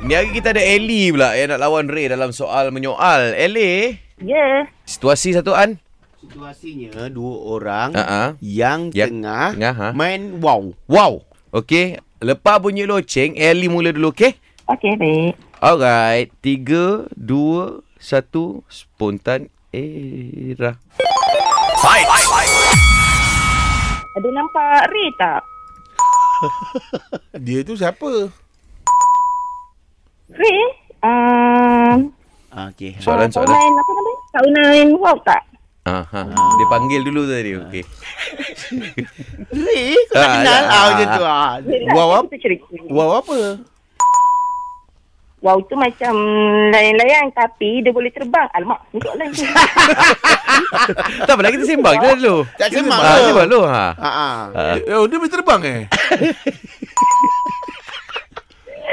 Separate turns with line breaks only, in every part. Ni hari kita ada Ellie pula yang nak lawan Ray dalam soal menyoal. Ellie,
Ya.
situasi satu an?
Situasinya Ha, dua orang
Ha-ha.
yang
Ha, Yang
tengah,
tengah, ha?
main wow.
Wow. Okey, lepas bunyi loceng, Ellie mula dulu, okey?
Okey, baik.
Alright, tiga, dua, satu, spontan era.
Ada nampak Ray tak?
Dia tu siapa?
Ray? Um,
Ah, Okey.
Soalan,
kau
soalan.
main apa nama? Kau main wow tak?
Aha. Dia panggil dulu tadi, okey.
Ray, kau tak
Ah,
kenal
ya.
ah, macam tu ah.
Wow,
Ray,
apa?
Kita cerita. Wow.
Wow apa?
wow tu macam layang-layang tapi dia boleh terbang. Alamak, untuk lain tu.
tak apa, kita sembang je dulu.
Tak semak
Ha,
ke?
sembang dulu. Ha.
Ah, ah.
Ah.
Eh, Oh, dia boleh terbang eh?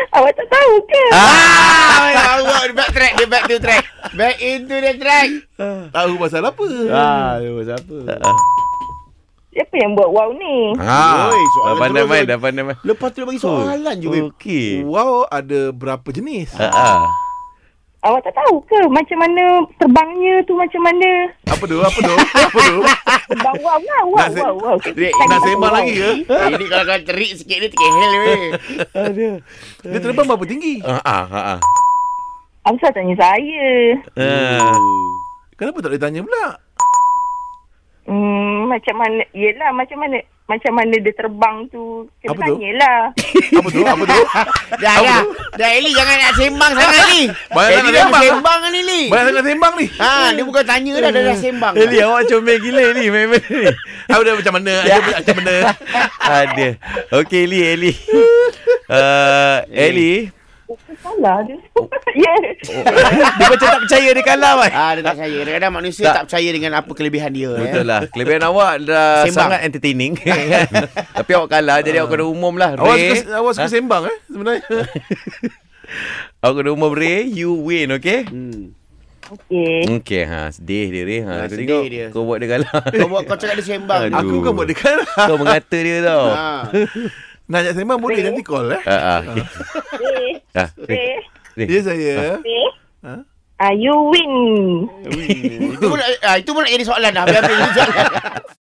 Awak tak tahu ke?
Ha?
Ah, awak dia back track, dia back to track. Back into the track.
Tahu pasal apa?
Ah, tu siapa?
Siapa yang buat wow ni?
Ha.
Oi, Ah, soalan
Dah pandai
terus
main,
tu.
dah pandai main.
Lepas tu dia bagi soalan je. Oh. babe.
Okey.
Wow, ada berapa jenis?
Ha. ah.
Awak tak tahu ke macam mana terbangnya tu macam mana?
Apa tu? Apa tu? Apa tu?
Terbang lah. wow, wow, wow,
Nak se-
wow, wow.
Ray,
Tak
Nak
tahu
sembang
wow.
lagi ke?
Ini kalau kau terik sikit ni terkehel weh.
Dia terbang berapa tinggi?
Ha ah, ha ah.
Awak tak tanya saya.
Hmm.
Ah.
Kenapa tak boleh tanya pula?
Hmm, macam mana? Yelah, macam mana? Macam mana dia terbang tu? Kena
Apa tu?
tanyalah.
Apa tu? Apa tu?
Dah dah. Dah Eli jangan nak sembang sangat ni.
Banyak
Eli
nak
dah
sembang.
sembang kan Eli.
Banyak sangat sembang ni.
Ah.
Ha, dia bukan tanya dah dah, dah sembang.
Eli, awak comel gila Eli. Memang ni. Ya.
Apa dia macam mana? Dia macam mana?
Ada. Okey, Eli, Eli. Uh, Eli,
Salah dia. ya.
dia macam tak percaya dia kalah, Mai.
Ah, dia tak percaya. Kadang-kadang manusia
Tak.
tak. percaya dengan apa kelebihan dia.
Betul
Eh.
lah Kelebihan awak dah
Sembang.
sangat entertaining Tapi awak kalah Jadi awak kena umum lah
Awak
Ray
suka, awak suka sembang eh sebenarnya.
Awak kena umum Ray You win okay
Hmm.
Oh.
Okey.
Okay ha Sedih dia Ray ha,
Ha,
Kau
sedih
tengok
dia.
Kau buat dia kalah
Kau buat kau cakap dia sembang.
Aduh.
Aku bukan buat dia kalah.
Kau mengata dia tau
Ha.
Nak ajak sembang boleh nanti call eh.
Ha, ha, okay.
Ray,
ha, Ray.
Ray,
Ray.
Ya saya.
Ray.
Ha?
Ah, eh, you win.
Hmm. Itu pun nak- ah, itu pun nak jadi soalan dah. Habis-habis jadi soalan.